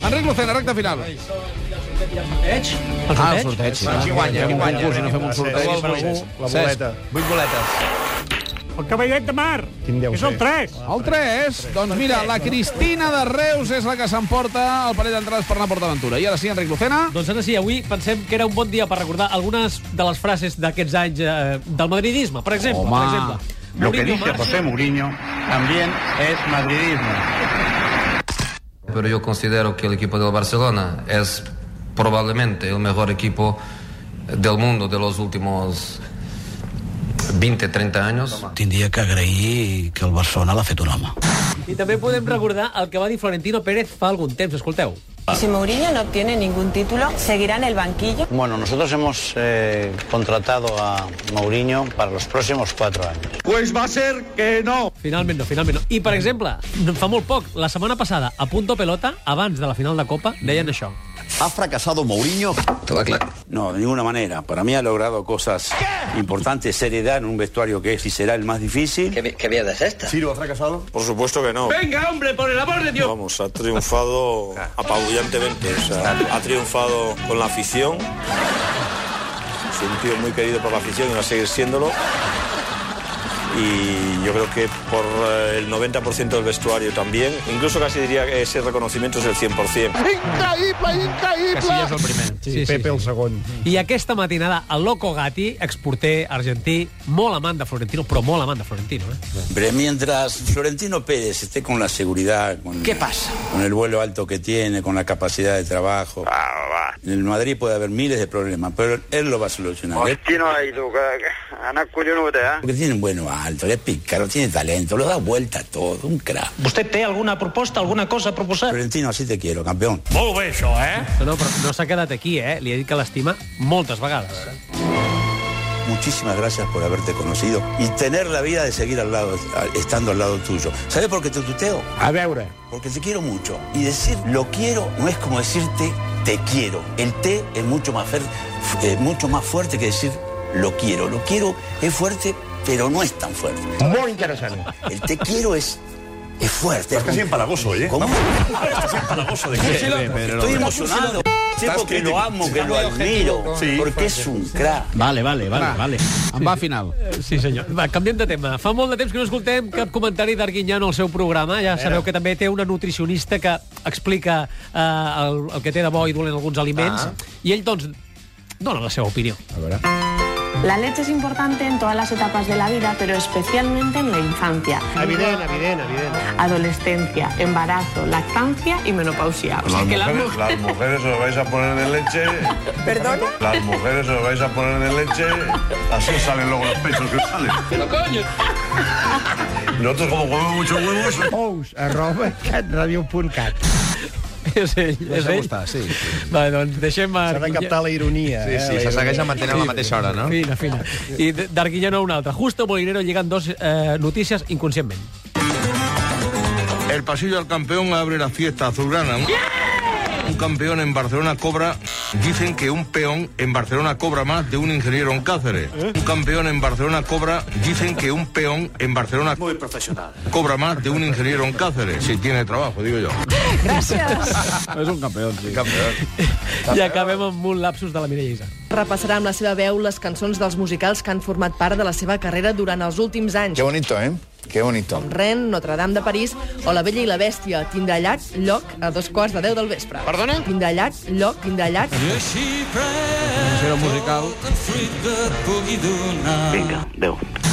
Enric Lucena, recta final. Sorteig? Ah, el sorteig. Sí, Qui guanya, qui guanya? concurs i no fem un sorteig. Algú, algú. La Cesc. boleta. Vuit boletes. El cavallet de mar. Quin deu És el ser? 3. El 3, doncs mira, la Cristina de Reus és la que s'emporta el parell d'entrades per anar a PortAventura. I ara sí, Enric Lucena. Doncs ara sí, avui pensem que era un bon dia per recordar algunes de les frases d'aquests anys eh, del madridisme. Per exemple, Home. per exemple. Lo que Mourinho dice marxa- José Mourinho también es madridismo. pero yo considero que el equipo del Barcelona es probablemente el mejor equipo del mundo de los últimos 20, 30 años. Tindria que agrair que el Barcelona l'ha fet un home. I també podem recordar el que va dir Florentino Pérez fa algun temps. Escolteu. Si Mourinho no obtiene ningún título, seguirá en el banquillo. Bueno, nosotros hemos eh, contratado a Mourinho para los próximos cuatro años. Finalment no, finalment no. I, per exemple, fa molt poc, la setmana passada, a Punto Pelota, abans de la final de Copa, deien això. Ha fracasado Mourinho? Estaba claro. No, de ninguna manera. Para mí ha logrado cosas importantes, seriedad en un vestuario que es y será el más difícil. ¿Qué, mierda es esta? ¿Ciro ha fracasado? Por supuesto que no. Venga, hombre, por el amor de Dios. Vamos, ha triunfado apabullantemente. O sea, ha triunfado con la afición. Es un tío muy querido por la afición y va a seguir siéndolo. Y yo creo que por eh, el 90% del vestuario también. Incluso casi diría que ese reconocimiento es el 100%. Casillas el primer. Sí, sí, Pepe el segon. I aquesta matinada, el Loco Gatti, exporter argentí, molt amant de Florentino, però molt amant de Florentino, eh? Pero mientras Florentino Pérez esté con la seguridad, con, ¿Qué pasa? con el vuelo alto que tiene, con la capacidad de trabajo, en el Madrid puede haber miles de problemas, pero él lo va a solucionar. Él- Porque tiene un vuelo alto, es pícaro, tiene talento, lo da vuelta a todo, un crack. Vostè té alguna proposta, alguna cosa a proposar? Florentino, así te quiero, campeón. No, no, però no s'ha quedat aquí, eh? Li ha dit que l'estima moltes vegades. Muchísimas gracias por haberte conocido y tener la vida de seguir al lado, a- estando al lado tuyo. ¿Sabes por qué te tuteo? A veure, Porque te quiero mucho. Y decir lo quiero no es como decirte te quiero. El te es mucho más, fer- eh, mucho más fuerte que decir lo quiero. Lo quiero es fuerte, pero no es tan fuerte. molt interessant. El te quiero es, es fuerte. Estás casi empalagoso hoy, ¿eh? ¿Cómo? ¿De qué? Estoy emocionado. Tipo que lo amo, que lo admiro, porque es un crack. Vale, vale, vale, vale. En va final. Sí, senyor. Va, canviem de tema. Fa molt de temps que no escoltem cap comentari d'Arguinyano al seu programa. Ja sabeu que també té una nutricionista que explica eh, el, el que té de bo i dolent alguns aliments. I ell, doncs, dona la seva opinió. La leche es importante en todas las etapas de la vida, pero especialmente en la infancia, Evident, evident, evident. adolescencia, embarazo, lactancia y menopausia. O sea que las mujeres- las mujeres os vais a poner de leche. ¿Perdona? Las mujeres os vais a poner de leche. Así salen luego los pechos que salen. ¡Pero coño! Nosotros como comemos muchos huevos... Ous, arroba, catradio.cat. és ell, és Deixa-ho ell. estar, sí, sí. Va, doncs deixem a S'ha de Arguinyano. captar la ironia. Sí, sí, se segueix mantenint a la mateixa hora, no? Fina, fina. I d- d'Arguinyano una altra. Justo Molinero lligant dos eh, notícies inconscientment. El pasillo al campeón abre la fiesta azulgrana. Un campeón en Barcelona cobra. Dicen que un peón en Barcelona cobra más de un ingeniero en Cáceres. Un campeón en Barcelona cobra. Dicen que un peón en Barcelona. Muy profesional. Cobra más de un ingeniero en Cáceres. Si tiene trabajo, digo yo. És un campió, sí. I acabem amb un lapsus de la Mireia Isaac. Repassarà amb la seva veu les cançons dels musicals que han format part de la seva carrera durant els últims anys. Qué bonito, ¿eh? Qué bonito. Rennes, Notre Dame de París o La Bella i la Bèstia. Tindrà llac, lloc, a dos quarts de deu del vespre. Perdona? Tindrà llac, lloc, tindrà llac. Era musical. Venga, deu.